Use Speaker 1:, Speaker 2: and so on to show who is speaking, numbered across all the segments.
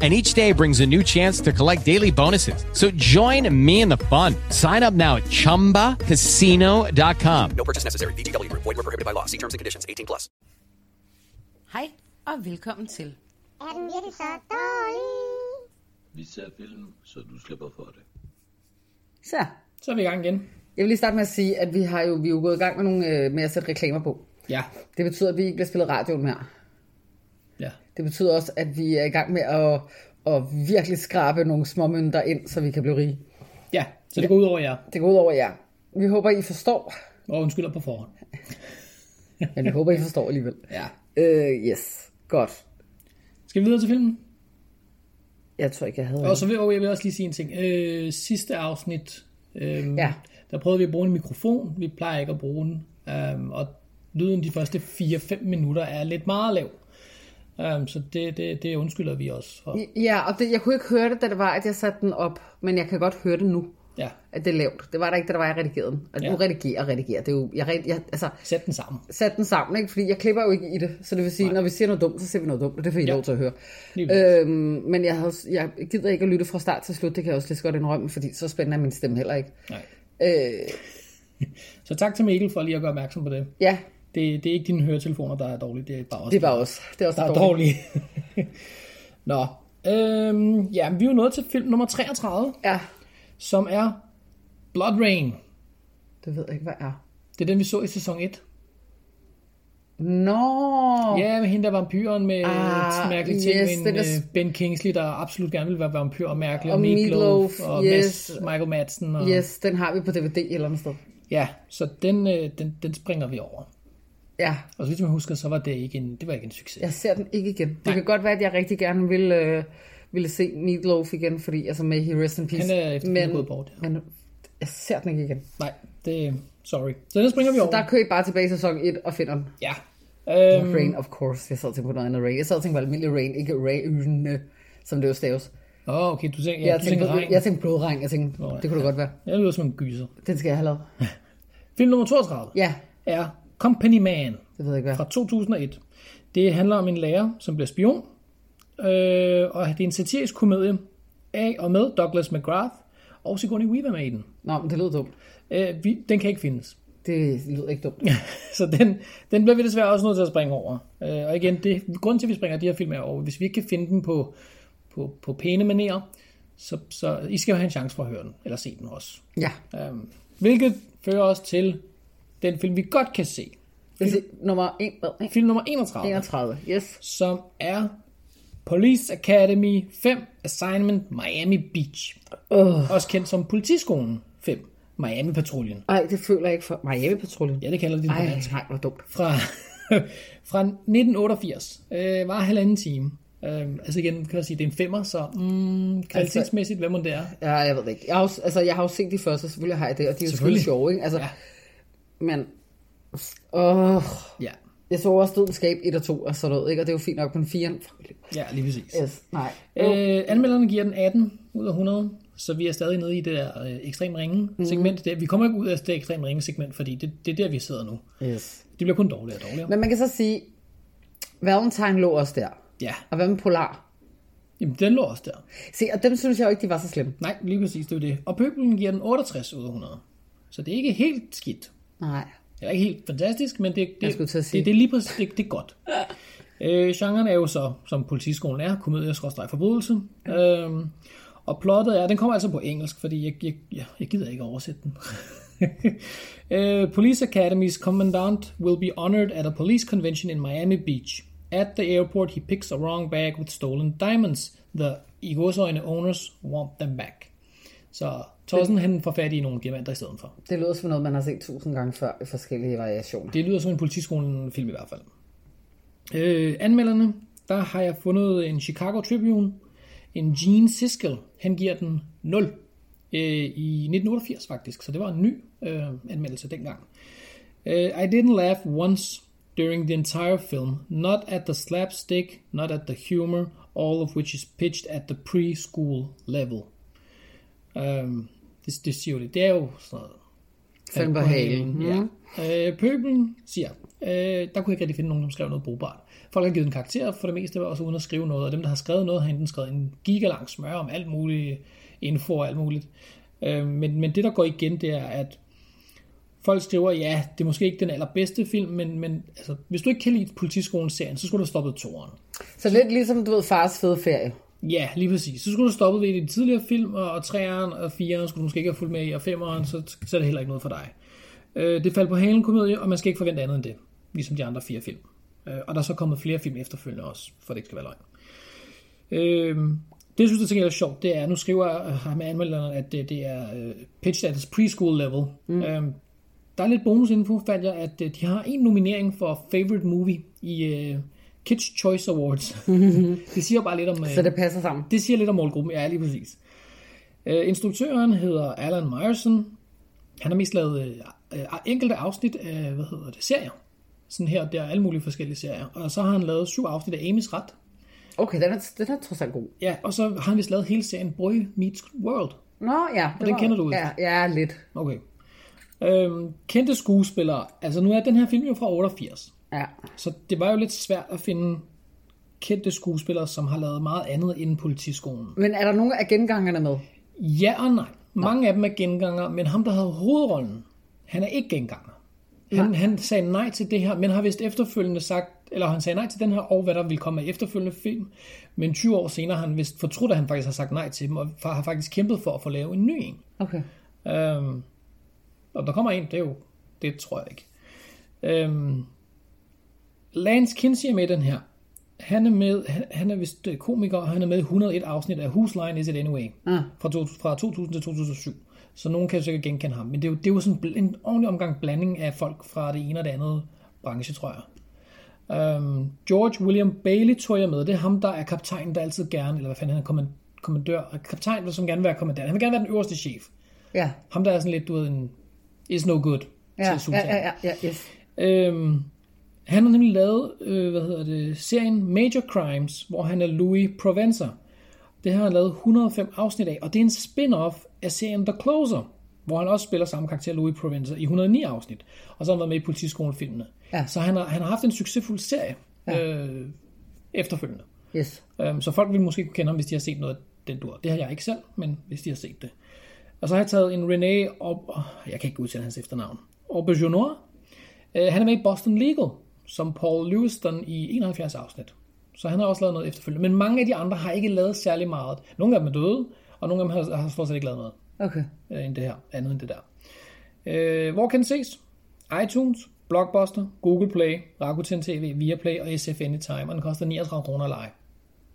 Speaker 1: and each day brings a new chance to collect daily bonuses. So join me in the fun. Sign up now at ChumbaCasino.com.
Speaker 2: No purchase necessary. VGW Group. Void were prohibited by law. See terms and conditions. 18 plus.
Speaker 3: Hej og velkommen til.
Speaker 4: Er den virkelig så dårlig?
Speaker 5: Vi ser film, så du slipper for det.
Speaker 6: Så,
Speaker 7: Så er vi i gang igen.
Speaker 6: jeg vil lige starte med at sige, at vi har jo, vi er jo gået i gang med, nogle, øh, med at sætte reklamer på.
Speaker 7: Ja.
Speaker 6: Det betyder, at vi ikke bliver spillet radioen mere.
Speaker 7: Ja.
Speaker 6: Det betyder også, at vi er i gang med at, at virkelig skrabe nogle småmønter ind, så vi kan blive rige.
Speaker 7: Ja, så det går ud over jer.
Speaker 6: Det går ud over jer. Vi håber, I forstår.
Speaker 7: Og undskylder på forhånd.
Speaker 6: Men vi håber, I forstår alligevel.
Speaker 7: Ja.
Speaker 6: Øh, yes. Godt.
Speaker 7: Skal vi videre til filmen?
Speaker 6: Jeg tror ikke, jeg havde...
Speaker 7: Og så vil og jeg vil også lige sige en ting. Øh, sidste afsnit, øh,
Speaker 6: Ja.
Speaker 7: der prøvede vi at bruge en mikrofon. Vi plejer ikke at bruge den. Øh, og lyden de første 4-5 minutter er lidt meget lav. Øh, så det, det, det undskylder vi også for.
Speaker 6: Ja, og det, jeg kunne ikke høre det, da det var, at jeg satte den op. Men jeg kan godt høre det nu,
Speaker 7: Ja,
Speaker 6: at det er lavt. Det var der ikke, da det var, jeg redigerede den. Og
Speaker 7: Ja.
Speaker 6: nu redigerer og redigerer. Det er jo... Jeg, jeg, jeg, altså,
Speaker 7: sæt den sammen.
Speaker 6: sat den sammen, ikke? fordi jeg klipper jo ikke i det. Så det vil sige, Nej. når vi siger noget dumt, så siger vi noget dumt, og det får I ja.
Speaker 7: Ja.
Speaker 6: lov til at høre.
Speaker 7: Lige præcis.
Speaker 6: Øhm, men jeg, havde, jeg gider ikke at lytte fra start til slut, det kan jeg også lige så godt indrømme, fordi så spændende er min stemme heller ikke.
Speaker 7: Nej.
Speaker 6: Øh,
Speaker 7: Så tak til Mikkel for lige at gøre opmærksom på det.
Speaker 6: ja,
Speaker 7: Det, det er ikke dine høretelefoner, der er dårlige. Det er bare os.
Speaker 6: det er bare os. Det er også
Speaker 7: der er dårlige. Nå, øhm, ja, vi er jo nået til film nummer 33,
Speaker 6: Ja,
Speaker 7: som er Blood Rain.
Speaker 6: det ved jeg ikke, hvad er.
Speaker 7: Det er den, vi så i sæson 1.
Speaker 6: Nå,
Speaker 7: Ja, med hende der vampyren med
Speaker 6: Ah,
Speaker 7: ah, mærkelige ting.
Speaker 6: yes,
Speaker 7: Yes,
Speaker 6: den
Speaker 7: med
Speaker 6: er
Speaker 7: en,
Speaker 6: s-
Speaker 7: øh, Ben Kingsley, der absolut gerne vil være vampyr og mærkelig.
Speaker 6: Og
Speaker 7: Og Meatloaf.
Speaker 6: Meatloaf,
Speaker 7: Og
Speaker 6: yes.
Speaker 7: Mads, Michael Madsen. Og,
Speaker 6: yes, den har vi på DVD et eller andet sted.
Speaker 7: Ja, så den, øh, den, den springer vi over.
Speaker 6: Ja,
Speaker 7: Og så vidt man husker, så var det ikke en, det var ikke en succes.
Speaker 6: jeg ser den ikke igen. Det
Speaker 7: Nej.
Speaker 6: kan godt være, at jeg rigtig gerne vil... Øh, ville se Meatloaf igen, fordi altså med He Rest in Peace.
Speaker 7: Han er efterfølgende gået bort, ja.
Speaker 6: men øh, jeg ser den ikke igen.
Speaker 7: Nej, det sorry. Så den springer vi
Speaker 6: Så
Speaker 7: over.
Speaker 6: der kører I bare tilbage i sæson 1 og finder den.
Speaker 7: Ja.
Speaker 6: Mm.
Speaker 7: Øhm,
Speaker 6: Rain, of course. Jeg sad og tænkte på noget andet rain. Jeg sad og tænkte på almindelig rain, ikke rain, som det jo staves.
Speaker 7: åh, okay, du tænker, ja,
Speaker 6: Jeg
Speaker 7: du
Speaker 6: tænkte,
Speaker 7: tænker
Speaker 6: på,
Speaker 7: regn.
Speaker 6: jeg tænkte blodregn. Jeg tænkte,
Speaker 7: Nå, ja.
Speaker 6: det kunne det godt være.
Speaker 7: Jeg lyder som en gyser.
Speaker 6: Den skal jeg have lavet.
Speaker 7: Film nummer 32
Speaker 6: Ja,
Speaker 7: er Company Man
Speaker 6: det ved jeg ikke,
Speaker 7: fra
Speaker 6: hvad.
Speaker 7: 2001. Det handler om en lærer, som bliver spion, øh, og det er en satirisk komedie af og med Douglas McGrath og Sigourney Weaver med i den.
Speaker 6: Nå, men det lød dumt.
Speaker 7: Øh, vi, den kan ikke findes.
Speaker 6: Det lyder ikke dumt.
Speaker 7: Så den, den bliver vi desværre også nødt til at springe over. Øh, og igen, det, grunden til, at vi springer de her film her over, hvis vi ikke kan finde dem på, på, på pæne manerer, så, så I skal jo have en chance for at høre den, eller se den også.
Speaker 6: Ja.
Speaker 7: Øhm, hvilket fører os til den film, vi godt kan se.
Speaker 6: Det vil sige, nummer 1, hvad? ikke?
Speaker 7: Film nummer 31,
Speaker 6: 31. Yes.
Speaker 7: som er Police Academy 5 Assignment Miami Beach. Uh. Også kendt som Politiskolen 5 Miami Patruljen.
Speaker 6: Ej, det føler jeg ikke for. Miami Patruljen.
Speaker 7: Ja, det kalder de det på
Speaker 6: Ej,
Speaker 7: dansk.
Speaker 6: nej, hvor dumt.
Speaker 7: Fra, fra 1988. Øh, var halvanden time. Øh, altså igen, kan jeg sige, det er en femmer, så mm,
Speaker 6: Altså-
Speaker 7: kvalitetsmæssigt, hvad må det er?
Speaker 6: Ja, jeg ved det ikke. Jeg har, jo- altså, jeg har jo set de første, selvfølgelig har jeg det, og de er jo skide
Speaker 7: Selvfølgelig.
Speaker 6: sjove, ikke? Altså,
Speaker 7: Ja.
Speaker 6: men... Åh,
Speaker 7: Ja,
Speaker 6: jeg så også dødens skab 1 og 2 og sådan noget, ikke? Og det er jo fint nok, men 4... Fuck,
Speaker 7: ja lige præcis.
Speaker 6: Yes, nej.
Speaker 7: Øh, anmelderne giver den 18 ud af 100, så vi er stadig nede i det der øh, ekstrem ringe segment. Mm. Vi kommer ikke ud af det ekstrem ringe segment, fordi det, det er der, vi sidder nu.
Speaker 6: Yes.
Speaker 7: Det bliver kun dårligere og dårligere.
Speaker 6: Men man kan så sige, Valentine lå også der.
Speaker 7: Ja,
Speaker 6: Og hvad med Polar?
Speaker 7: jamen, den lå også der.
Speaker 6: Se, og dem synes jeg jo ikke, de var så slemme.
Speaker 7: Nej, lige præcis, det er jo det. Og pøbelen giver den 68 ud af 100. Så det er ikke helt skidt.
Speaker 6: Nej.
Speaker 7: Det er ikke helt fantastisk, men det,
Speaker 6: Jeg
Speaker 7: det,
Speaker 6: skulle
Speaker 7: det,
Speaker 6: til at
Speaker 7: det,
Speaker 6: sige.
Speaker 7: det er lige præcis, det, det er godt. øh, genren er jo så, som politiskolen er, komedie-forbrydelse. Øhm, og plottet er, den kommer altså på engelsk, fordi jeg, jeg, jeg, jeg gider ikke oversætte den. øh, Police Academy's commandant will be honored at a police convention in Miami Beach. At the airport, he picks a wrong bag with stolen diamonds. The i godsøjne owners want them back. Så Tossen han får fat i nogle diamanter i stedet for.
Speaker 6: Det lyder som noget, man har set tusind gange før i forskellige variationer.
Speaker 7: Det lyder som en politiskolen-film i hvert fald. Øh, anmelderne, der har jeg fundet en Chicago Tribune. En Gene Siskel, han giver den 0 øh, i 1988 faktisk, så det var en ny øh, anmeldelse dengang. Øh, I didn't laugh once during the entire film, not at the slapstick, not at the humor, all of which is pitched at the preschool level. Um, det, det siger jo det, det er jo sådan noget
Speaker 6: Fem på halen.
Speaker 7: Ja. Øh, pøblen siger, øh, der kunne jeg ikke rigtig finde nogen, som skrev noget brugbart. Folk har givet en karakter for det meste, også uden at skrive noget, og dem, der har skrevet noget, har enten skrevet en gigalang smør om alt muligt info og alt muligt. Øh, men, men det, der går igen, det er, at folk skriver, ja, det er måske ikke den allerbedste film, men, men altså, hvis du ikke kan lide Politiskolen-serien, så skulle du have stoppet toren.
Speaker 6: Så lidt ligesom, du ved, fars fede ferie.
Speaker 7: Ja, lige præcis. Så skulle du stoppe ved i de tidligere film, og, og træeren og fireren skulle du måske ikke have fulgt med i, og femeren, så, så er det heller ikke noget for dig. Øh, det faldt på halen komedie, og man skal ikke forvente andet end det, ligesom de andre fire film. Øh, og der er så kommet flere film efterfølgende også, for det ikke skal være løgn. Øh, det, jeg synes, det til gengæld er sjovt, det er, nu skriver øh, ham anmelderen, at det, det er øh, pitched at its preschool level. Mm. Øh, der er lidt bonusinfo, fandt jeg, at øh, de har en nominering for Favorite Movie i øh, Kids Choice Awards. det siger bare lidt om... Øh,
Speaker 6: Så det passer sammen.
Speaker 7: det siger lidt om målgruppen, ja lige præcis. Øh, instruktøren hedder Alan Myerson. Han har mest lavet øh, øh, enkelte afsnit af, hvad hedder det, serier. Sådan her og der, alle mulige forskellige serier. Og så har han lavet syv afsnit af Amy's Ret.
Speaker 6: Okay, den er, den er trods alt god.
Speaker 7: Ja, og så har han vist lavet hele serien Boy Meets World.
Speaker 6: Nå, ja. Det
Speaker 7: den kender du ikke?
Speaker 6: Ja, ja, lidt.
Speaker 7: Okay. Øhm, kendte skuespillere. Altså nu er den her film jo fra 88.
Speaker 6: Ja.
Speaker 7: Så det var jo lidt svært at finde kendte skuespillere, som har lavet meget andet end politiskolen.
Speaker 6: Men er der nogen af gengangerne med?
Speaker 7: Ja og nej. Mange af dem er genganger, men ham, der havde hovedrollen, han er ikke genganger. Han, han sagde nej til det her, men har vist efterfølgende sagt, eller han sagde nej til den her, og hvad der ville komme af efterfølgende film. Men 20 år senere har han vist fortrudt, at han faktisk har sagt nej til dem, og fa- har faktisk kæmpet for at få lavet en ny en.
Speaker 6: Okay.
Speaker 7: Øhm, og der kommer en, det er jo, det tror jeg ikke. Øhm, Lance Kinsey er med i den her. Han er med, han, han er vist øh, komiker, og han er med i 101 afsnit af Whose Line Is It Anyway?
Speaker 6: Ah.
Speaker 7: Fra, to, fra 2000 til 2007. Så nogen kan sikkert genkende ham. Men det er jo, det er jo sådan bl- en ordentlig omgang blanding af folk fra det ene og det andet branche, tror jeg. Øhm, George William Bailey tog jeg med. Det er ham, der er kaptajn, der altid gerne, eller hvad fanden han er, kommand- kommandør. Og Kaptajn vil som gerne være kommandant. Han vil gerne være den øverste chef.
Speaker 6: Ja.
Speaker 7: Ham der er sådan lidt, du ved, en is no good
Speaker 6: Ja,
Speaker 7: til
Speaker 6: ja,
Speaker 7: Susan.
Speaker 6: ja, ja, ja, yes.
Speaker 7: Øhm, han har nemlig lavet, øh, hvad hedder det, serien Major Crimes, hvor han er Louis Provenza. Det har han lavet 105 afsnit af, og det er en spin-off af serien The Closer, hvor han også spiller samme karakter Louis Provenza i 109 afsnit, og så har han været med i politiskolefilmene.
Speaker 6: Ja.
Speaker 7: Så han har, han har haft en succesfuld serie øh, efterfølgende.
Speaker 6: Yes.
Speaker 7: Øhm, så folk vil måske kunne kende ham, hvis de har set noget af den dur. Det har jeg ikke selv, men hvis de har set det. Og så har jeg taget en René op... Oh, jeg kan ikke udtale hans efternavn. Aubergenois. Øh, han er med i Boston Legal, som Paul Lewiston i 71 afsnit. Så han har også lavet noget efterfølgende. Men mange af de andre har ikke lavet særlig meget. Nogle af dem er døde, og nogle af dem har, har stort set ikke lavet noget
Speaker 6: Okay.
Speaker 7: øh, end det her, andet end det der. Øh, hvor kan den ses? iTunes, Blockbuster, Google Play, Rakuten TV, Viaplay og SF Anytime, og den koster 39 kroner at lege.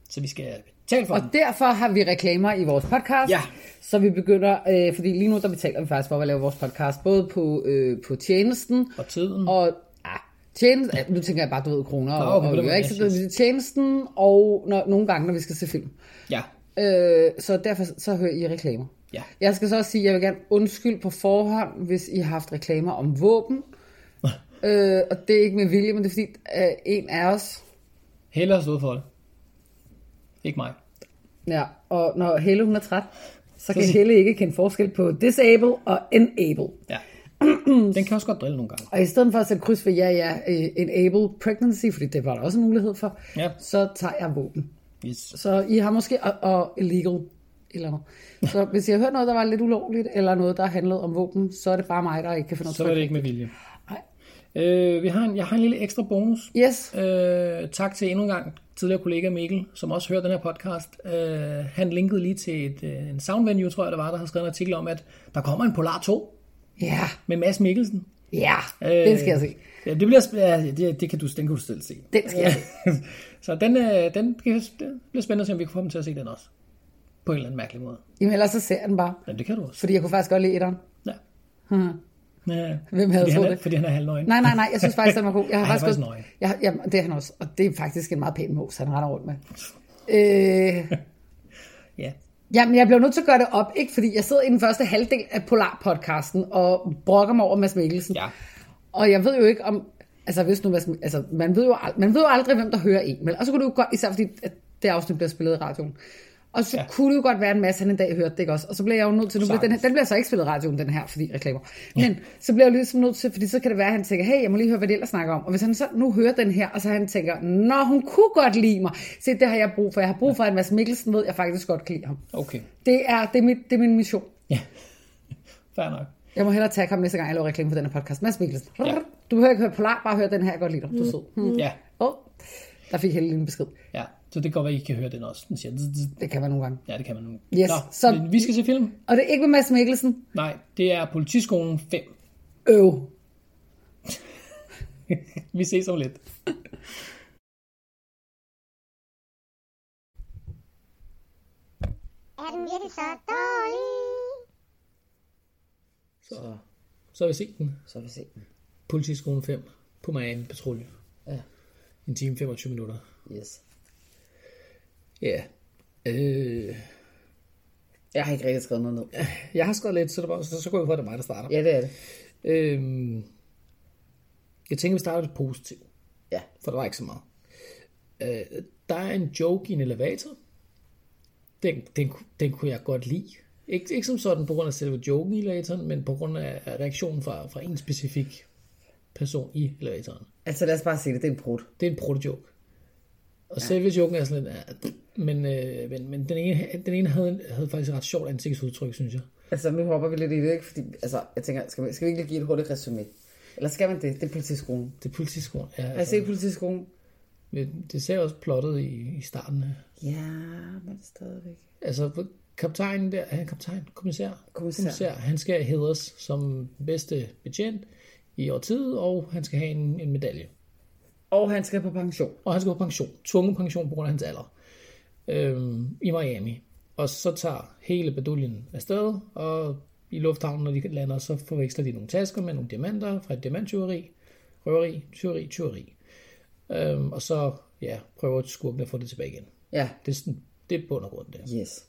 Speaker 7: Så vi skal betale for
Speaker 6: Og
Speaker 7: den.
Speaker 6: derfor har vi reklamer i vores podcast.
Speaker 7: Ja.
Speaker 6: Så vi begynder, øh, fordi lige nu der betaler vi faktisk for at lave vores podcast, både på, øh, på tjenesten
Speaker 7: Og tiden.
Speaker 6: og... Ah, tjenesten, ah, nu tænker jeg bare, du ved, kroner
Speaker 7: Nå,
Speaker 6: og,
Speaker 7: okay, på
Speaker 6: og,
Speaker 7: den
Speaker 6: øre,
Speaker 7: måde,
Speaker 6: ikke?
Speaker 7: yes,
Speaker 6: Så det er tjenesten, og når, nogle gange, når vi skal se film.
Speaker 7: Ja,
Speaker 6: Øh, så derfor så hører I reklamer.
Speaker 7: ja.
Speaker 6: Jeg skal så også sige, at jeg vil gerne undskylde på forhånd, hvis I har haft reklamer om våben. øh, og det er ikke med vilje, men det er fordi, øh, en af os...
Speaker 7: Hellere stået for det. Ikke mig.
Speaker 6: Ja, og når Helle hun er træt, så kan
Speaker 7: sig-
Speaker 6: Helle ikke kende forskel på disable og enable.
Speaker 7: Ja. Den kan også godt drille nogle gange.
Speaker 6: Og i stedet for at sætte kryds ved ja, ja, øh, enable pregnancy, fordi det var der også en mulighed for,
Speaker 7: Ja.
Speaker 6: så tager jeg våben.
Speaker 7: Yes.
Speaker 6: Så I har måske, og, og illegal, et eller noget. Så hvis jeg har hørt noget, der var lidt ulovligt, eller noget, der handlede om våben, så er det bare mig, der ikke kan finde noget
Speaker 7: Så var det ikke med vilje. Øh, vi har en, jeg har en lille ekstra bonus.
Speaker 6: Yes,
Speaker 7: Øh, tak til endnu en gang tidligere kollega Mikkel, som også hører den her podcast. Øh, han linkede lige til et, øh, en soundvenue, tror jeg, der var, der har skrevet en artikel om, at der kommer en Polar 2
Speaker 6: ja,
Speaker 7: med Mads Mikkelsen. Øh,
Speaker 6: ja, den skal jeg se.
Speaker 7: Ja, det, bliver, sp- ja, det, det kan du, den kan du selv se.
Speaker 6: Den skal jeg se.
Speaker 7: Så den, øh, den, kan- det bliver spændende at se, om vi kan få dem til at se den også. På en eller anden mærkelig måde.
Speaker 6: Jamen ellers så ser jeg den bare,
Speaker 7: Men det kan du også.
Speaker 6: fordi jeg kunne faktisk godt lide etteren.
Speaker 7: Ja. ja.
Speaker 6: Hmm. Hvem havde
Speaker 7: fordi han
Speaker 6: troet
Speaker 7: er-
Speaker 6: det?
Speaker 7: Fordi han er halvnøgen.
Speaker 6: Nej, nej, nej, jeg synes faktisk, den var god. Jeg har
Speaker 7: Ej, han er
Speaker 6: faktisk, også,
Speaker 7: faktisk nøje.
Speaker 6: jeg, jamen, det er han også, og det er faktisk en meget pæn mås, han render rundt med. Øh,
Speaker 7: Ja.
Speaker 6: Jamen, jeg blev nødt til at gøre det op, ikke? Fordi jeg sidder i den første halvdel af Polar-podcasten og brokker mig over Mads Mikkelsen.
Speaker 7: ja.
Speaker 6: Og jeg ved jo ikke om...
Speaker 8: Altså, hvis nu, man skal- altså, man, ved jo aldrig, man ved jo aldrig, hvem der hører en. Men, og så kunne det jo godt, især fordi at det afsnit bliver spillet i radioen. Og så ja. kunne det jo godt være, at Mads han en dag hørte det, ikke også? Og så bliver jeg jo nødt til, nu bliver den, her, den bliver så ikke spillet i radioen, den her, fordi reklamer. Men så bliver jeg jo ligesom nødt til, fordi så kan det være, at han tænker, hey, jeg må lige høre, hvad de ellers snakker om. Og hvis han så nu hører den her, og så han tænker, nå, hun kunne godt lide mig. Se, det har jeg brug for. Jeg har brug for, at Mads Mikkelsen ved, at jeg faktisk godt kan lide ham.
Speaker 7: Okay,
Speaker 8: Det er, det er, mit, det er min mission.
Speaker 7: fair nok.
Speaker 8: Jeg må hellere tage ham næste gang, jeg laver reklame for den her podcast. Mads Mikkelsen. Du behøver ikke høre Polar, bare hør den her, jeg godt lide dig.
Speaker 6: Mm.
Speaker 8: Du er sød. Hmm.
Speaker 7: Ja,
Speaker 8: Åh, der fik Helle lige en besked.
Speaker 7: ja. Så det kan godt være, I kan høre den også. Den siger, zzz, zzz.
Speaker 8: Det kan være nogle gange.
Speaker 7: ja, det kan man nu.
Speaker 8: Yes,
Speaker 7: Nå,
Speaker 8: så-
Speaker 7: men vi skal se film.
Speaker 8: Og det er ikke med Mads Mikkelsen.
Speaker 7: Nej, det er Politiskolen 5.
Speaker 8: Øv.
Speaker 7: Vi ses om lidt.
Speaker 4: Er den virkelig så dårlig?
Speaker 6: Så,
Speaker 7: Så har vi set den.
Speaker 6: så har vi set den.
Speaker 7: Politiskolen 5 på Miami Patrulje.
Speaker 6: Ja.
Speaker 7: En time 25 minutter.
Speaker 6: Yes.
Speaker 7: Ja. Øh,
Speaker 6: Jeg har ikke rigtig skrevet noget ned.
Speaker 7: jeg har skrevet lidt, så, det var, så, så går jeg ud fra, at det er mig, der starter.
Speaker 6: Ja, det er det.
Speaker 7: Øhm, jeg tænker, vi starter lidt positivt,
Speaker 6: Ja.
Speaker 7: for der var ikke så meget. Øh, der er en joke i en elevator. Den, den, ku- den kunne jeg godt lide. Ikke, ikke som sådan på grund af selve joken i elevatoren, men på grund af af reaktionen fra, fra en specifik person i elevatoren.
Speaker 6: Altså lad os bare sige det. Det er en prut.
Speaker 7: Det er en protojoke. Og ja. selve joken er sådan lidt... ah, Men, øh, men, men den ene, den ene havde, havde faktisk et ret sjovt ansigtsudtryk, synes jeg.
Speaker 6: Altså nu hopper vi lidt i det, ikke? Fordi, altså jeg tænker, skal vi, skal vi ikke lige give et hurtigt resume? Eller skal man det? Det er politiskolen.
Speaker 7: Det er politiskolen. Ja,
Speaker 6: Har I set politiskolen?
Speaker 7: men det ser også plottet i, i starten her.
Speaker 6: Ja, men stadigvæk.
Speaker 7: Altså, kaptajnen der, han er kaptajn, kommissær,
Speaker 6: Kommissær.
Speaker 7: han skal hedres som bedste betjent i årtiet, og han skal have en, en medalje.
Speaker 6: Og han skal på pension.
Speaker 7: Og han skal på pension, tvunget pension på grund af hans alder, øhm, i Miami. Og så tager hele baduljen afsted, og i lufthavnen, når de lander, så forveksler de nogle tasker med nogle diamanter fra et diamanttyveri, røveri, tyveri, tyveri. Øhm, og så ja, prøver skurken at få det tilbage igen.
Speaker 6: Ja,
Speaker 7: Det er, sådan, det er bund og grund, det.
Speaker 6: yes.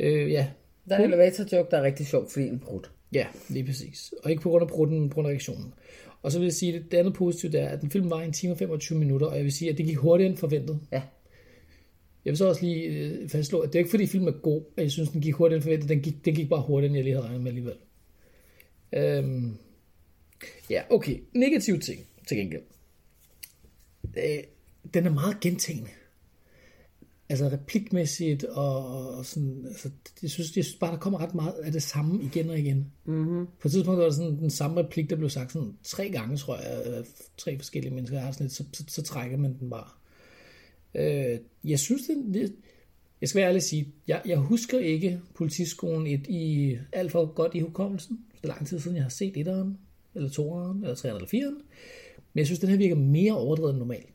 Speaker 7: Øh, ja,
Speaker 6: Der er en elevator joke, der er rigtig sjov, fordi en prut.
Speaker 7: Ja, lige præcis. Og ikke på grund af brutten, men på grund af reaktionen. Og så vil jeg sige, at det andet positive er, at den film var en time og 25 minutter, og jeg vil sige, at det gik hurtigere end forventet.
Speaker 6: Ja.
Speaker 7: Jeg vil så også lige øh, fastslå, at det er ikke fordi filmen er god, at jeg synes, den gik hurtigere end forventet. Den gik, den gik bare hurtigere, end jeg lige havde regnet med alligevel. Øhm, ja, okay. Negative ting til gengæld. Øh, den er meget gentagende. Altså replikmæssigt, og, og sådan, altså, jeg, synes, jeg synes bare, der kommer ret meget af det samme igen og igen. Mm-hmm. På et tidspunkt var der sådan den samme replik, der blev sagt sådan tre gange, tror jeg, af tre forskellige mennesker har sådan lidt, så, så, så trækker man den bare. Øh, jeg synes, den, det, jeg skal være ærlig at sige, jeg, jeg husker ikke politiskolen et, i alt for godt i hukommelsen. Det er lang tid siden, jeg har set etteren, eller toeren, eller treeren, eller fireren. Men jeg synes, den her virker mere overdrevet end normalt.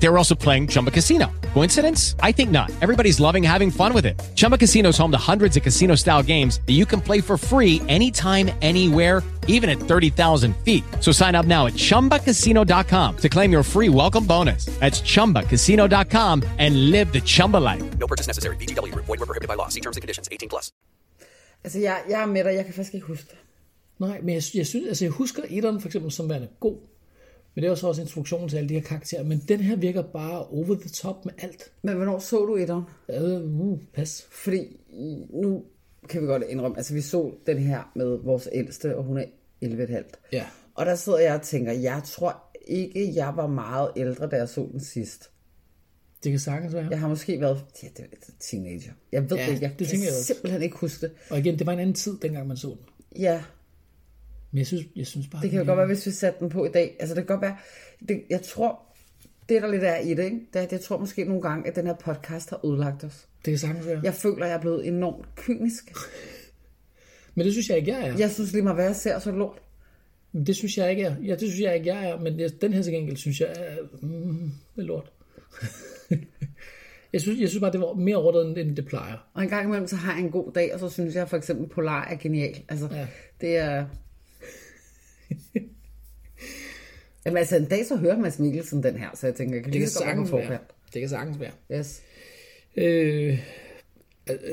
Speaker 1: They were also playing Chumba Casino. Coincidence? I think not. Everybody's loving having fun with it. Chumba Casino is home to hundreds of casino style games that you can play for free anytime, anywhere even at 30,000 feet. So sign up now at ChumbaCasino.com to claim your free welcome bonus. That's ChumbaCasino.com and live the Chumba life.
Speaker 2: No purchase necessary. VGW Group. Void were prohibited by law. See terms and conditions. 18 plus.
Speaker 6: Altså jeg, jeg er med dig, jeg kan faktisk ikke huske det.
Speaker 7: Nej, men jeg, jeg synes, altså jeg husker etteren for eksempel som værende god, men det er jo så også introduktionen til alle de her karakterer, men den her virker bare over the top med alt.
Speaker 6: Men hvornår så du etteren?
Speaker 7: Øh, uh, pas.
Speaker 6: Fordi nu kan vi godt indrømme, altså vi så den her med vores ældste, og hun er 11,5.
Speaker 7: Ja.
Speaker 6: Og der sidder jeg og tænker, jeg tror ikke, jeg var meget ældre, da jeg så den sidst.
Speaker 7: Det kan sagtens være.
Speaker 6: Jeg har måske været ja, det er teenager. Jeg ved
Speaker 7: Ja,
Speaker 6: ja, ikke, jeg
Speaker 7: det
Speaker 6: det
Speaker 7: tænker
Speaker 6: kan
Speaker 7: jeg
Speaker 6: jeg
Speaker 7: også.
Speaker 6: simpelthen ikke huske det.
Speaker 7: Og igen, det var en anden tid, dengang man så den.
Speaker 6: Ja,
Speaker 7: Men jeg synes, jeg synes bare...
Speaker 6: det kan jo
Speaker 7: den
Speaker 6: godt
Speaker 7: er-
Speaker 6: være, hvis vi satte den på i dag. Altså det kan godt være, det, jeg tror, det der lidt er i det, ikke? det er, at jeg tror måske nogle gange, at den her podcast har ødelagt os.
Speaker 7: Det kan sagtens være. Ja.
Speaker 6: Jeg føler, at jeg er blevet enormt kynisk.
Speaker 7: Men det synes jeg ikke, jeg er. Ja.
Speaker 6: Jeg synes lige meget, hvad jeg ser, så er det lort.
Speaker 7: Det synes jeg ikke, jeg er. Ja, det synes jeg ikke, jeg er. Men jeg, den her til gengæld, synes jeg er... Mm, det er lort. jeg, synes, jeg synes bare, det var mere overdrevet, end det plejer.
Speaker 6: Og en gang imellem, så har jeg en god dag, og så synes jeg for eksempel, Polar er genial. Altså,
Speaker 7: Ja.
Speaker 6: ja. det er... Jamen altså, en dag så hører Mads Mikkelsen den her, så jeg tænker, jeg kan lige så godt, hvad hun får her.
Speaker 7: Det kan sagtens være.
Speaker 6: Yes.
Speaker 7: Øh,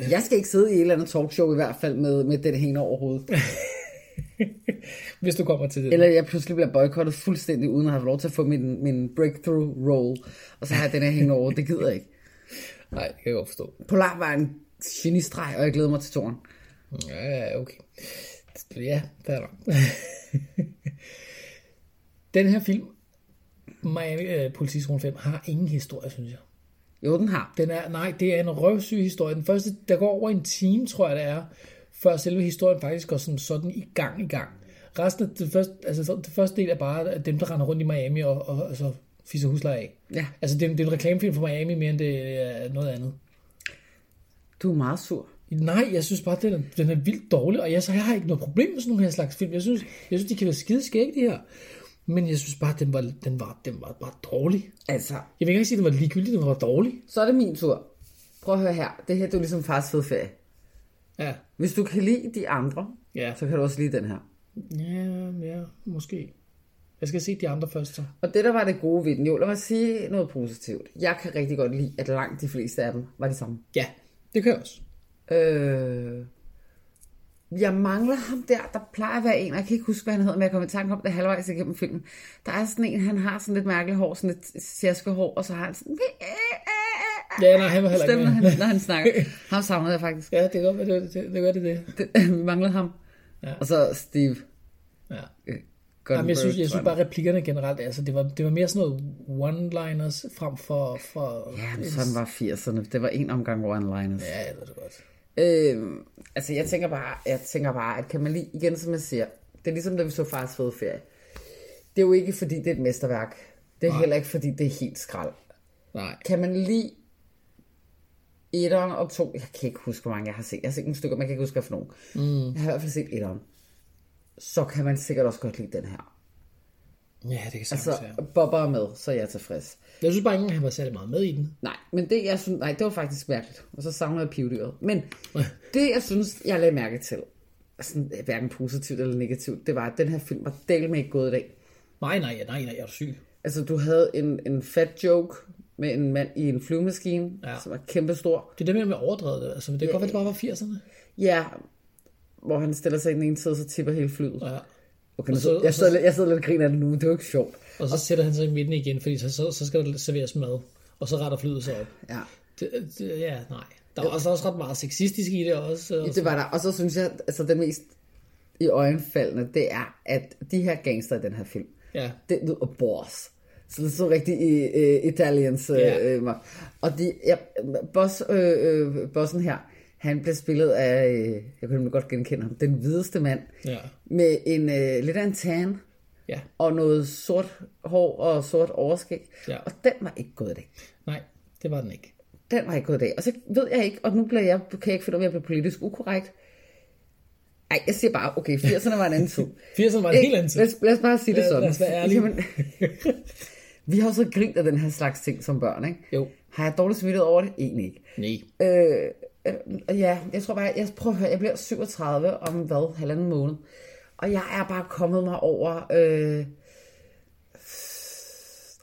Speaker 6: Jeg skal ikke sidde i et eller andet talkshow i hvert fald med, med den hængende over hovedet.
Speaker 7: hvis du kommer til det.
Speaker 6: Eller jeg pludselig bliver boykottet fuldstændig, uden at have lov til at få min, min breakthrough roll. Og så har jeg den her hængende over. Det gider jeg ikke.
Speaker 7: Nej, det kan jeg godt forstå.
Speaker 6: Polar var en genistreg, og jeg glæder mig til toren.
Speaker 7: Ja, ja, okay. Ja, der er nok. Den her film, Miami øh, Politiskolen 5, har ingen historie, synes jeg.
Speaker 6: Jo, den har.
Speaker 7: Den er, nej, det er en røvsyg historie. Den første, der går over en time, tror jeg det er, før selve historien faktisk går som sådan i gang i gang. Resten af det første, altså så- det første del er bare at dem, der render rundt i Miami og, og, og så fisser husleje af.
Speaker 6: Ja.
Speaker 7: Altså det, er en- det er en reklamefilm for Miami, mere end det er noget andet.
Speaker 6: Du er meget sur.
Speaker 7: Nej, jeg synes bare, den er, den er vildt dårlig, og jeg, så jeg har ikke noget problem med sådan nogle her slags film. Jeg synes, jeg synes de kan være skide skægge, de her. Men jeg synes bare, den var, den var, den var bare dårlig.
Speaker 6: Altså,
Speaker 7: Jeg vil ikke sige, at den var ligegyldig, den var bare dårlig.
Speaker 6: så er det min tur. Prøv at høre her. Det her, det er jo ligesom fars fede ferie.
Speaker 7: Ja,
Speaker 6: Hvis du kan lide de andre,
Speaker 7: ja.
Speaker 6: så kan du også lide den her.
Speaker 7: Ja, ja, måske. Jeg skal se de andre først, så.
Speaker 6: Og det, der var det gode ved den, jo, lad mig sige noget positivt. Jeg kan rigtig godt lide, at langt de fleste af dem var de samme.
Speaker 7: Ja, det kan jeg også.
Speaker 6: Øh, jeg mangler ham der, der plejer at være en, og jeg kan ikke huske, hvad han hedder, men jeg kom i tanke om det halvvejs igennem filmen. Der er sådan en, han har sådan lidt mærkeligt hår, sådan lidt sjaskehår, og så har han sådan...
Speaker 7: Ja, nej, han var heller ikke
Speaker 6: Ah, Stemmer han,
Speaker 7: med.
Speaker 6: når han snakker. Ham savnede jeg faktisk.
Speaker 7: Ja, det er godt, det, det, det, det, gør det, det.
Speaker 6: Det, vi mangler ham. Ja. Og så Steve
Speaker 7: Ja.
Speaker 6: Gunnberg,
Speaker 7: Jamen, jeg synes, jeg synes
Speaker 6: tror
Speaker 7: bare, replikkerne generelt, altså, det var, det var mere sådan noget one-liners frem for... for
Speaker 6: Ja, men sådan var 80'erne. Det var en omgang one-liners.
Speaker 7: ja, jeg ved det godt.
Speaker 6: Øhm, altså, jeg tænker, bare, jeg tænker bare, at kan man lige, igen som jeg siger, det er ligesom da vi så fars fede ferie. Det er jo ikke, fordi det er et mesterværk. Det er Nej. heller ikke, fordi det er helt skrald.
Speaker 7: Nej.
Speaker 6: Kan man lige etteren og to, jeg kan ikke huske, hvor mange jeg har set. Jeg har set nogle stykker, man kan ikke huske, hvad for nogen. Mm. Jeg har i hvert fald set etteren. Så kan man sikkert også godt lide den her.
Speaker 7: Ja, det kan sagtens
Speaker 6: Altså,
Speaker 7: være.
Speaker 6: Bobber er med, så er jeg er tilfreds.
Speaker 7: Jeg synes bare ikke, engang, han var særlig meget med i den.
Speaker 6: Nej, men det jeg synes, nej, det var faktisk mærkeligt. Og så savner jeg pivdyret. Men det jeg synes, jeg lagde mærke til, sådan, hverken positivt eller negativt, det var, at den her film var del med ikke gået i dag.
Speaker 7: Nej, nej, nej, nej, jeg er syg.
Speaker 6: Altså, du havde en, en fat joke med en mand i en flyvemaskine,
Speaker 7: Ja.
Speaker 6: ja. som var kæmpestor.
Speaker 7: Det er det med, med overdrevet det. Altså, det kan godt være, det bare var 80'erne.
Speaker 6: Ja, hvor han stiller sig i den ene side, og så tipper hele flyet.
Speaker 7: Ja. Og
Speaker 6: Okay, nu,
Speaker 7: så-
Speaker 6: så, jeg, sidder, lidt- jeg sidder lidt og griner af det nu, men det er jo ikke sjovt.
Speaker 7: Og så sætter han sig i midten igen, fordi så, så, så skal der serveres mad. Og så retter flyet sig op.
Speaker 6: Ja.
Speaker 7: Det, det, ja, nej. Der var altså også, også ret meget sexistisk i det også. Og
Speaker 6: Det var der. Og så synes jeg, altså det mest i øjenfaldende, det er, at de her gangster i den her film,
Speaker 7: Ja.
Speaker 6: det lyder boss. Så det er sådan rigtig i, øh, italiens. Øh,
Speaker 7: Ja.
Speaker 6: yeah. og de, ja, boss, øh, øh, bossen her, han blev spillet af, øh, jeg kunne nemlig godt genkende ham, den hvideste mand,
Speaker 7: Ja.
Speaker 6: med en øh, lidt af en tan,
Speaker 7: ja.
Speaker 6: og noget sort hår og sort overskæg.
Speaker 7: Ja.
Speaker 6: Og den var ikke god i dag.
Speaker 7: Nej, det var den ikke.
Speaker 6: Den var ikke god i dag. Og så ved jeg ikke, og nu bliver jeg, kan jeg ikke finde ud af, om jeg bliver politisk ukorrekt. Ej, jeg siger bare, okay, 80'erne var en anden tid.
Speaker 7: 80'erne var en helt
Speaker 6: Ikke?
Speaker 7: anden tid.
Speaker 6: Lad os, lad os bare sige det
Speaker 7: Lad-
Speaker 6: sådan.
Speaker 7: lad os være ærlige.
Speaker 6: vi har jo så grint af den her slags ting som børn, ikke?
Speaker 7: Jo.
Speaker 6: Har jeg dårligt smittet over det? Egentlig ikke.
Speaker 7: Nej.
Speaker 6: Øh, øh, og ja, jeg tror bare, jeg prøver at høre, jeg bliver 37 om hvad, halvanden måned. Og jeg er bare kommet mig over øh,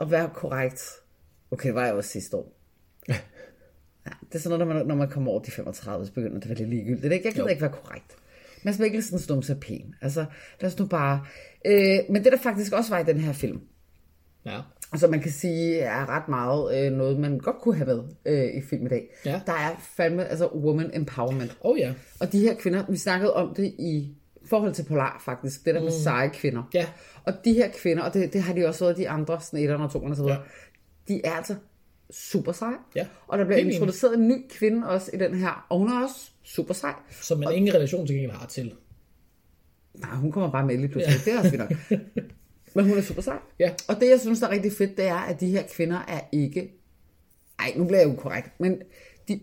Speaker 6: at være korrekt. Okay, det var jeg også sidste år. Ja, det er sådan noget, når man, når man kommer over de 35, så begynder det at være lidt ligegyldigt. Ikke? Jeg gider
Speaker 7: Jo.
Speaker 6: ikke være korrekt. Mads Mikkelsen stod så pæn. Altså, lad os nu bare... Øh, men det, der faktisk også var i den her film,
Speaker 7: Ja.
Speaker 6: Altså man kan sige, er ret meget øh, noget, man godt kunne have med øh, i film i dag.
Speaker 7: Ja.
Speaker 6: Der er fandme, altså woman empowerment.
Speaker 7: Åh oh, ja.
Speaker 6: Og de her kvinder, vi snakkede om det i forhold til Polar faktisk, det der med seje kvinder.
Speaker 7: Mm. Ja.
Speaker 6: Og de her kvinder, og det, det har de også været i de andre, sådan 1'erne og 2'erne og så videre, ja. de er altså super seje.
Speaker 7: Ja.
Speaker 6: Og der bliver
Speaker 7: Helt enig.
Speaker 6: introduceret en ny kvinde også i den her, og hun er også super sej.
Speaker 7: Som man ingen relation til gengæld har til.
Speaker 6: Nej, hun kommer bare med lige pludselig. Ja. Det er også fint nok. Men hun er super sej.
Speaker 7: Ja.
Speaker 6: Og det, jeg synes, der er rigtig fedt, det er, at de her kvinder er ikke... Ej, nu bliver jeg ukorrekt, men de...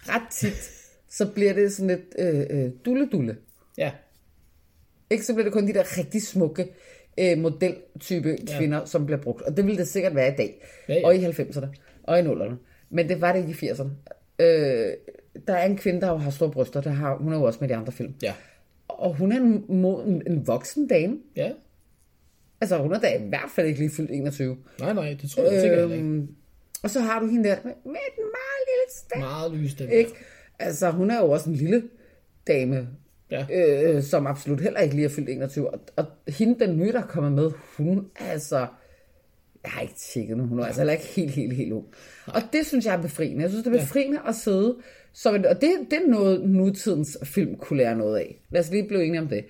Speaker 6: ret tit, så bliver det sådan lidt øh, øh, dulle-dulle.
Speaker 7: Ja.
Speaker 6: Ikke så bliver det kun de der rigtig smukke øh, modeltype kvinder, ja. som bliver brugt. Og det ville det sikkert være i dag.
Speaker 7: Ja, ja.
Speaker 6: Og i 90'erne. Og i 0'erne. Men det var det ikke i 80'erne. Øh, der er en kvinde, der jo har store bryster. Der har, hun er jo også med i de andre film.
Speaker 7: Ja.
Speaker 6: Og hun er en, mo- en, en voksen dame.
Speaker 7: Ja.
Speaker 6: Altså, hun er da i hvert fald ikke lige fyldt 21. Øhm,
Speaker 7: Nej, nej, det tror jeg øh... sikkert heller ikke.
Speaker 6: Og så har du hende der med, med den meget lille stærk.
Speaker 7: Meget lysstemme.
Speaker 6: Ikke? Altså, hun er jo også en lille dame,
Speaker 7: Ja.
Speaker 6: øh, som absolut heller ikke lige er fyldt 21. Og, og hende, den nye, der kommer med, hun er altså... Jeg har ikke tjekket nu. Hun er altså heller ikke helt, helt, helt ung. Og det synes jeg er befriende. Jeg synes, det er befriende at sidde... Som en, og det, det er noget, nutidens film kunne lære noget af. Lad os lige blive enige om det.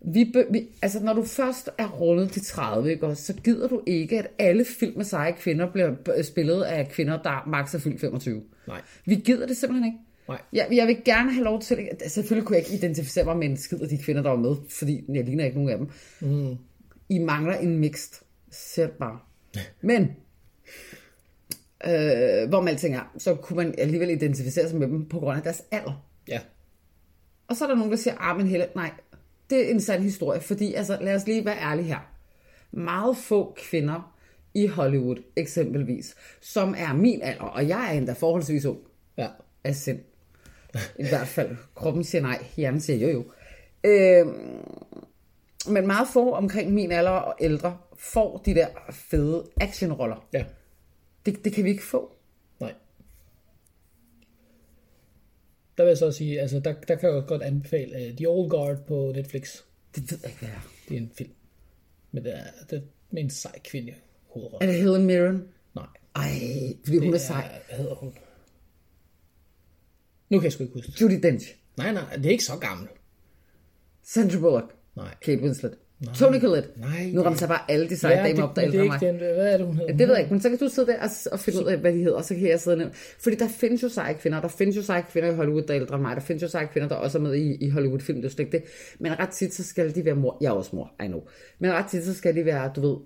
Speaker 6: Vi, be- vi, altså, når du først er rundet de 30, ikke, også, så gider du ikke, at alle film med seje kvinder bliver b- spillet af kvinder, der maks er fyldt 25.
Speaker 7: Nej.
Speaker 6: Vi gider det simpelthen ikke.
Speaker 7: Nej.
Speaker 6: Jeg, jeg vil gerne have lov til... Selvfølgelig kunne jeg ikke identificere mig med en skid af de kvinder, der var med, fordi jeg ligner ikke nogen af dem. Mm. I mangler en mixed. Sæt bare. Men, øh, hvor man alting er, så kunne man alligevel identificere sig med dem på grund af deres alder.
Speaker 7: Ja.
Speaker 6: Og så er der nogen, der siger, ah, men Helle, nej, det er en sand historie, fordi altså, lad os lige være ærlige her. Meget få kvinder i Hollywood, eksempelvis, som er min alder, og jeg er endda forholdsvis ung
Speaker 7: Ja.
Speaker 6: af sind. I hvert fald. Kroppen siger nej, hjernen siger jo jo. Øhm, men meget få omkring min alder og ældre får de der fede actionroller.
Speaker 7: Ja.
Speaker 6: Det, det kan vi ikke få.
Speaker 7: Nej. Der vil jeg så sige, altså der, der kan jeg jo godt anbefale uh, The Old Guard på Netflix.
Speaker 6: Det ved jeg ikke, hvad er.
Speaker 7: Det er en film. Men det er, det er med en sej kvinde i
Speaker 6: Er
Speaker 7: hovedrollen.
Speaker 6: det Helen Mirren?
Speaker 7: Nej.
Speaker 6: Ej, fordi hun er sej.
Speaker 7: Ja, hvad hedder hun? Nu kan jeg sgu ikke huske det.
Speaker 6: Judy Dench.
Speaker 7: Nej, nej, det er ikke så gammel.
Speaker 6: Sandra Bullock.
Speaker 7: Nej.
Speaker 6: Kate Winslet. Tony Collette.
Speaker 7: Nej.
Speaker 6: Nu rammer jeg bare alle de seje ja, damer
Speaker 7: det,
Speaker 6: op, der
Speaker 7: men det
Speaker 6: ældre
Speaker 7: er
Speaker 6: end mig.
Speaker 7: ikke den, hvad er det, hun hedder?
Speaker 6: Det ved jeg ikke, men så kan du sidde der og, og finde ud af, hvad de hedder, og så kan jeg sidde og nævne. Fordi der findes jo seje kvinder, og der findes jo seje kvinder i Hollywood, der er ældre end mig, der findes jo seje kvinder, der også er med i, i Hollywood-film, det er jo slet ikke det. Men ret tit, så skal de være mor. Jeg er også mor, I know. Men ret tit, så skal de være, du ved,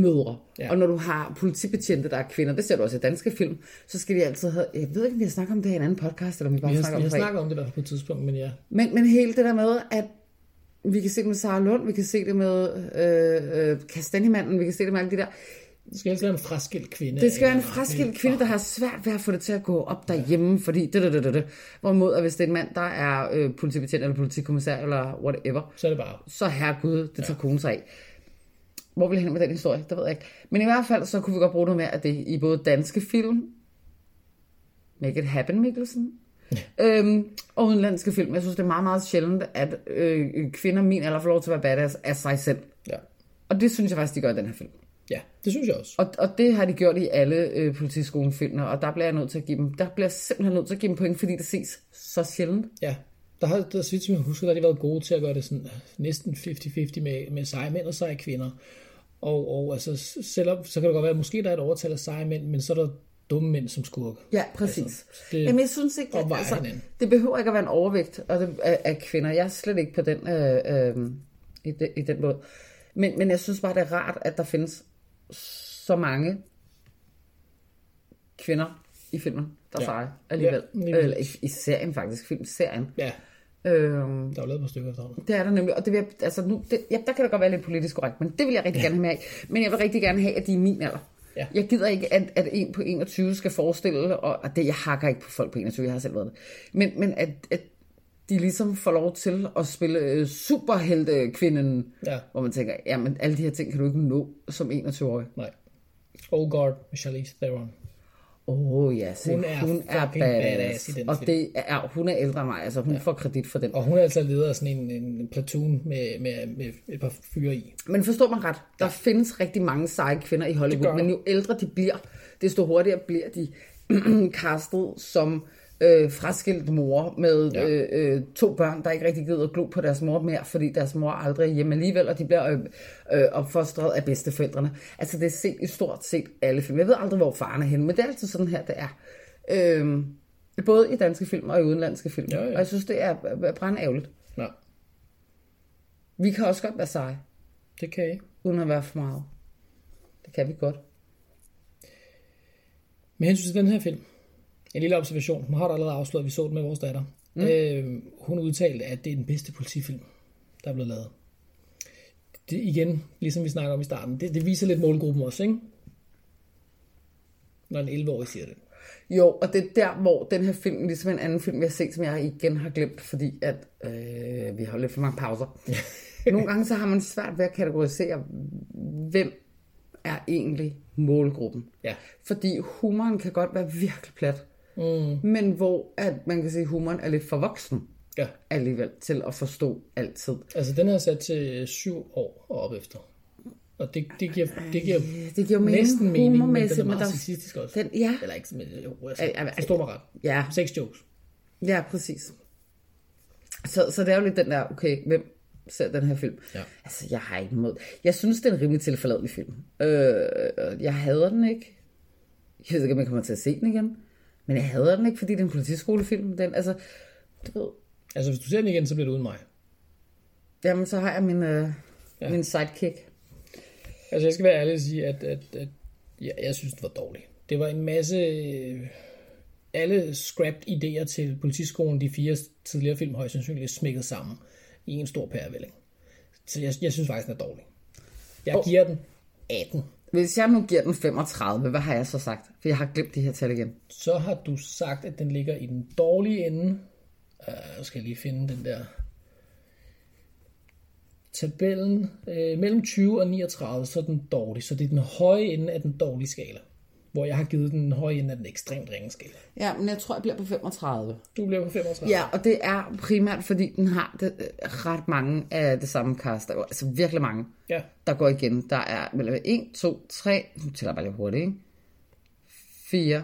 Speaker 6: mødre.
Speaker 7: Ja.
Speaker 6: Ja. Og når du har politibetjente, der er kvinder, det ser du også i danske film, så skal de altid have, jeg ved ikke, om vi har snakket om det her i en anden podcast, eller om vi bare
Speaker 7: Vi
Speaker 6: snakker
Speaker 7: har, vi
Speaker 6: om det
Speaker 7: har
Speaker 6: privat.
Speaker 7: snakket om det der på et tidspunkt, men ja.
Speaker 6: Men, men hele det der med, at vi kan se det med Sara Lund, vi kan se det med øh, øh, Kastanjemanden, vi kan se det med alle de der.
Speaker 7: Det skal helst være en fraskilt kvinde.
Speaker 6: Det skal være en
Speaker 7: eller-
Speaker 6: fraskilt kvinde, der har svært ved at få det til at gå op derhjemme, fordi det, det, det, det, det. Hvorimod, at hvis det er en mand, der er øh, politibetjent eller politikommissær eller whatever,
Speaker 7: Så er det bare,
Speaker 6: så herregud, det tager konen sig af. Hvor vil jeg hen med den historie? Det ved jeg ikke. Men i hvert fald, så kunne vi godt bruge noget mere af det i både danske film, Make it happen, Mikkelsen, øhm, og udenlandske film. Jeg synes, det er meget, meget sjældent, at øh, kvinder min alder får lov til at være badass af sig selv.
Speaker 7: ja.
Speaker 6: Og det synes jeg faktisk, de gør i den her film.
Speaker 7: Ja, det synes jeg også.
Speaker 6: Og, og det har de gjort i alle øh, politiskolefilmene, og der bliver jeg nødt til at give dem, der bliver jeg simpelthen nødt til at give dem point, fordi det ses så sjældent.
Speaker 7: Ja, der har, der, så vidt som jeg husker, der har de været gode til at gøre det sådan øh, næsten 50-50 med, med seje mænd og seje kvinder. Og, og altså, s- selvom, så kan det godt være, at måske der er et overtal af seje mænd, men så er der dumme mænd som skurke.
Speaker 6: Ja, præcis. Altså,
Speaker 7: det
Speaker 6: det Jamen, jeg synes ikke, altså,
Speaker 7: opvejer hinanden.
Speaker 6: det behøver ikke at være en overvægt og det, af, af kvinder. Jeg er slet ikke på den, øh, øh, i, de, i den måde. Men, men jeg synes bare, det er rart, at der findes så mange kvinder i filmen, der
Speaker 7: Ja.
Speaker 6: ja. seje alligevel.
Speaker 7: Ja,
Speaker 6: Ja,
Speaker 7: lige
Speaker 6: Eller i, i serien faktisk, filmserien.
Speaker 7: Ja,
Speaker 6: Øh,
Speaker 7: der er jo lavet et par stykker efterhånden.
Speaker 6: det er der nemlig, og det vil jeg, altså nu, det, ja, der kan det godt være lidt politisk korrekt, men det vil jeg rigtig gerne have med af. Men jeg vil rigtig gerne have, at de er min alder.
Speaker 7: Ja.
Speaker 6: Jeg gider ikke, at, at en på 21 skal forestille, og, og det, jeg hakker ikke på folk på 21, jeg har selv været det. Men, men at, at de ligesom får lov til at spille øh, superheltekvinden,
Speaker 7: Ja.
Speaker 6: hvor man tænker, jamen alle de her ting kan du ikke nå som 21-årig.
Speaker 7: Nej. Old Guard med Charlize Theron.
Speaker 6: Åh oh, ja, se,
Speaker 7: Hun
Speaker 6: hun
Speaker 7: er
Speaker 6: er, hun er
Speaker 7: fucking
Speaker 6: badass.
Speaker 7: badass i den
Speaker 6: og
Speaker 7: film.
Speaker 6: det er, hun er ældre end mig, altså hun ja. får kredit for den.
Speaker 7: Og hun er altså leder af sådan en, en platoon med, med, med et par fyre i.
Speaker 6: Men forstår man ret, der ja. findes rigtig mange seje kvinder i
Speaker 7: Det
Speaker 6: Hollywood,
Speaker 7: gør
Speaker 6: men
Speaker 7: der.
Speaker 6: jo ældre de bliver, desto hurtigere bliver de castet som øh, fraskilt mor med
Speaker 7: Ja.
Speaker 6: ja. øh, øh, to børn, der ikke rigtig gider at glo på deres mor mere, fordi deres mor aldrig er hjemme alligevel, og de bliver øh, øh, opfostret af bedsteforældrene. Altså det er set i stort set alle film. Jeg ved aldrig, hvor faren er henne, men det er altid sådan her, det er. Øh, både i danske film og i udenlandske film.
Speaker 7: Ja, ja.
Speaker 6: Og jeg synes, det er brændærgerligt.
Speaker 7: Ja,
Speaker 6: Vi kan også godt være seje,
Speaker 7: det kan jeg.
Speaker 6: uden at være for meget. Det kan vi godt.
Speaker 7: Med hensyn til den her film, en lille observation. Nu har du allerede afsløret, at vi så den med vores datter. Mm. Øh, hun udtalte, at det er den bedste politifilm, der er blevet lavet. Det igen, ligesom vi snakker om i starten, det, det viser lidt målgruppen også, ikke? Når en 11-årig siger det.
Speaker 6: Jo, og det er der, hvor den her film, ligesom en anden film, vi har set, som jeg igen har glemt, fordi at øh, vi har jo lidt for mange pauser. Nogle gange så har man svært ved at kategorisere, hvem er egentlig målgruppen.
Speaker 7: Ja.
Speaker 6: Fordi humoren kan godt være virkelig plat. Mm. Men hvor at man kan sige, at humoren er lidt for voksen
Speaker 7: Ja.
Speaker 6: alligevel til at forstå altid.
Speaker 7: Altså, den er sat til syv år og op efter. Og det, det giver, det giver
Speaker 6: Ja, det giver mening.
Speaker 7: næsten mening, men den
Speaker 6: Humormæssigt,
Speaker 7: er meget
Speaker 6: men der-
Speaker 7: sexistisk også.
Speaker 6: Den- ja.
Speaker 7: Eller ikke, men jo, altså,
Speaker 6: Al- al-
Speaker 7: forstå mig ret.
Speaker 6: Ja.
Speaker 7: Sex jokes.
Speaker 6: Ja, præcis. Så, så det er jo lidt den der, okay, hvem ser den her film?
Speaker 7: Ja.
Speaker 6: Altså, jeg har ikke mod. Jeg synes, det er en rimelig tilforladelig film. Øh, og jeg hader den ikke. Jeg ved ikke, om jeg kommer til at se den igen. Men jeg hader den ikke, fordi det er en politiskolefilm. Den, altså, du ved,
Speaker 7: Altså, hvis du ser den igen, så bliver det uden mig.
Speaker 6: jamen, så har jeg min, øh,
Speaker 7: Ja.
Speaker 6: ja. min sidekick.
Speaker 7: Altså, jeg skal være ærlig og sige, at, at, at jeg, jeg synes, det var dårligt. Det var en masse... øh, Alle scrapped idéer til politiskolen, de fire tidligere film, højst sandsynligt smækket sammen i en stor pærevælling. Så jeg, jeg synes faktisk, den er dårlig. Jeg oh. giver den 18.
Speaker 6: Hvis jeg nu giver den 35, hvad har jeg så sagt? For jeg har glemt de her tal igen.
Speaker 7: Så har du sagt, at den ligger i den dårlige ende. Uh, jeg skal jeg lige finde den der tabellen. Uh, mellem 20 og 39, så er den dårlig. Så det er den høje ende af den dårlige skala. Hvor jeg har givet den høje ende af den ekstremt ringe skala.
Speaker 6: Ja, men jeg tror, jeg bliver på 35.
Speaker 7: Du bliver på 35.
Speaker 6: Ja, og det er primært, fordi den har det, øh, ret mange af det samme cast. Der er jo Altså virkelig mange,
Speaker 7: ja.
Speaker 6: der går igen. Der er mellem 1, 2, 3, nu tæller jeg bare lige hurtigt, ikke? 4,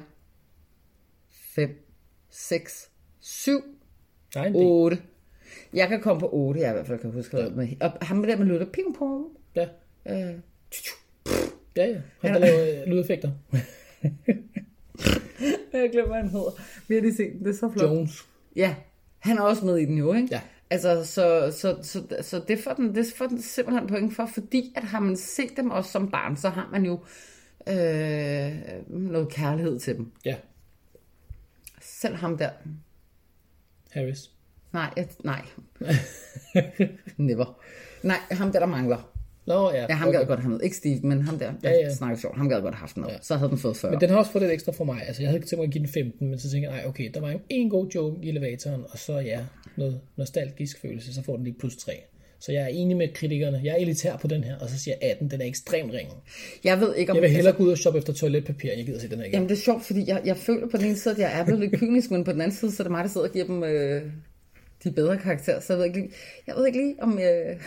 Speaker 6: 5, 6, 7,
Speaker 7: Der er en del.
Speaker 6: 8. Jeg kan komme på 8, jeg i hvert fald kan huske. Ja. Med, og ham der med lytter ping pong.
Speaker 7: Ja.
Speaker 6: Øh,
Speaker 7: ja, ja. Han der laver øh, lydeffekter.
Speaker 6: jeg glemmer, hvad han hedder. Vi har lige set den, det er så flot.
Speaker 7: Jones.
Speaker 6: Ja, han er også med i den jo, ikke?
Speaker 7: Ja.
Speaker 6: Altså, så, så, så, så det, får den, det får den simpelthen point for, fordi at har man set dem også som barn, så har man jo øh, noget kærlighed til dem.
Speaker 7: Ja.
Speaker 6: Selv ham der.
Speaker 7: Harris.
Speaker 6: Nej, jeg, nej. Never. Nej, ham der, der mangler.
Speaker 7: Nå, ja.
Speaker 6: Ja, ham okay. gad godt have noget. Ikke Steve, men ham der, der ja,
Speaker 7: ja.
Speaker 6: ja. snakker sjovt. Ham gad godt have haft noget. Ja. Så havde den fået 40.
Speaker 7: Men den har også fået lidt ekstra for mig. Altså, jeg havde ikke tænkt mig at give den 15, men så tænkte jeg, nej, okay, der var jo en god joke i elevatoren, og så ja, noget nostalgisk følelse, så får den lige plus 3. Så jeg er enig med kritikerne. Jeg er elitær på den her, og så siger jeg 18, den er ekstremt ringe.
Speaker 6: Jeg ved ikke, om... altså,
Speaker 7: Jeg vil hellere gå ud og shoppe efter toiletpapir, end jeg gider se den her igen.
Speaker 6: Jamen det er sjovt, fordi jeg, jeg føler på den ene side, at jeg er blevet lidt kynisk, men på den anden side, så er det mig, der sidder og giver dem øh, de bedre karakterer. Så jeg ved ikke lige, jeg ved ikke lige om, øh, jeg,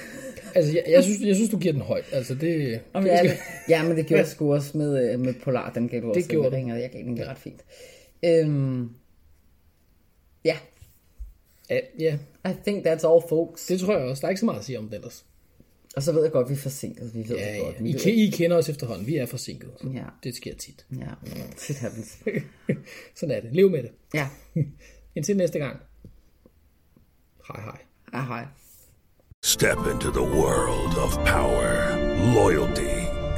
Speaker 7: Altså, jeg, jeg, synes, jeg synes, du giver den højt. Altså, det,
Speaker 6: om jeg er lidt... Ja, men det gjorde jeg sgu også med, øh, med Polar, den gav du også.
Speaker 7: gjorde du.
Speaker 6: ringer, jeg gav den egentlig ret fint. Øhm, ja,
Speaker 7: ja, ja,
Speaker 6: I think that's all folks.
Speaker 7: det tror jeg også. Der er ikke så meget at sige om det ellers.
Speaker 6: Og så ved jeg godt, vi er forsinket. Vi ved
Speaker 7: Ja,
Speaker 6: det godt.
Speaker 7: ja.
Speaker 6: Vi
Speaker 7: I,
Speaker 6: ved-
Speaker 7: ke- I kender os efterhånden. Vi er forsinket.
Speaker 6: Ja.
Speaker 7: Det sker tit.
Speaker 6: Ja, shit happens.
Speaker 7: Sådan er det. Lev med det.
Speaker 6: Ja,
Speaker 7: Indtil næste gang. Hej hej.
Speaker 6: ah, hej.
Speaker 9: Step into the world of power, loyalty,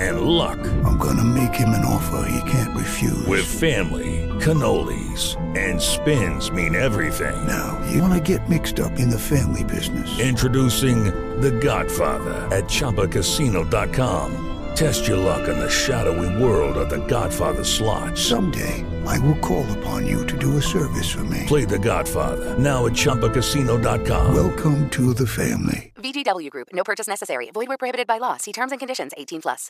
Speaker 9: and luck
Speaker 10: I'm gonna make him an offer he can't refuse.
Speaker 9: with family, cannolis, and spins mean everything.
Speaker 10: now, you wanna get mixed up in the family business.
Speaker 9: Introducing The Godfather at ChumbaCasino.com. Test your luck in the shadowy world of The Godfather slot.
Speaker 10: Someday, I will call upon you to do a service for me.
Speaker 9: Play The Godfather now at ChumbaCasino.com.
Speaker 10: Welcome to the family.
Speaker 11: VGW Group. No purchase necessary. Void where prohibited by law. See terms and conditions. 18 plus.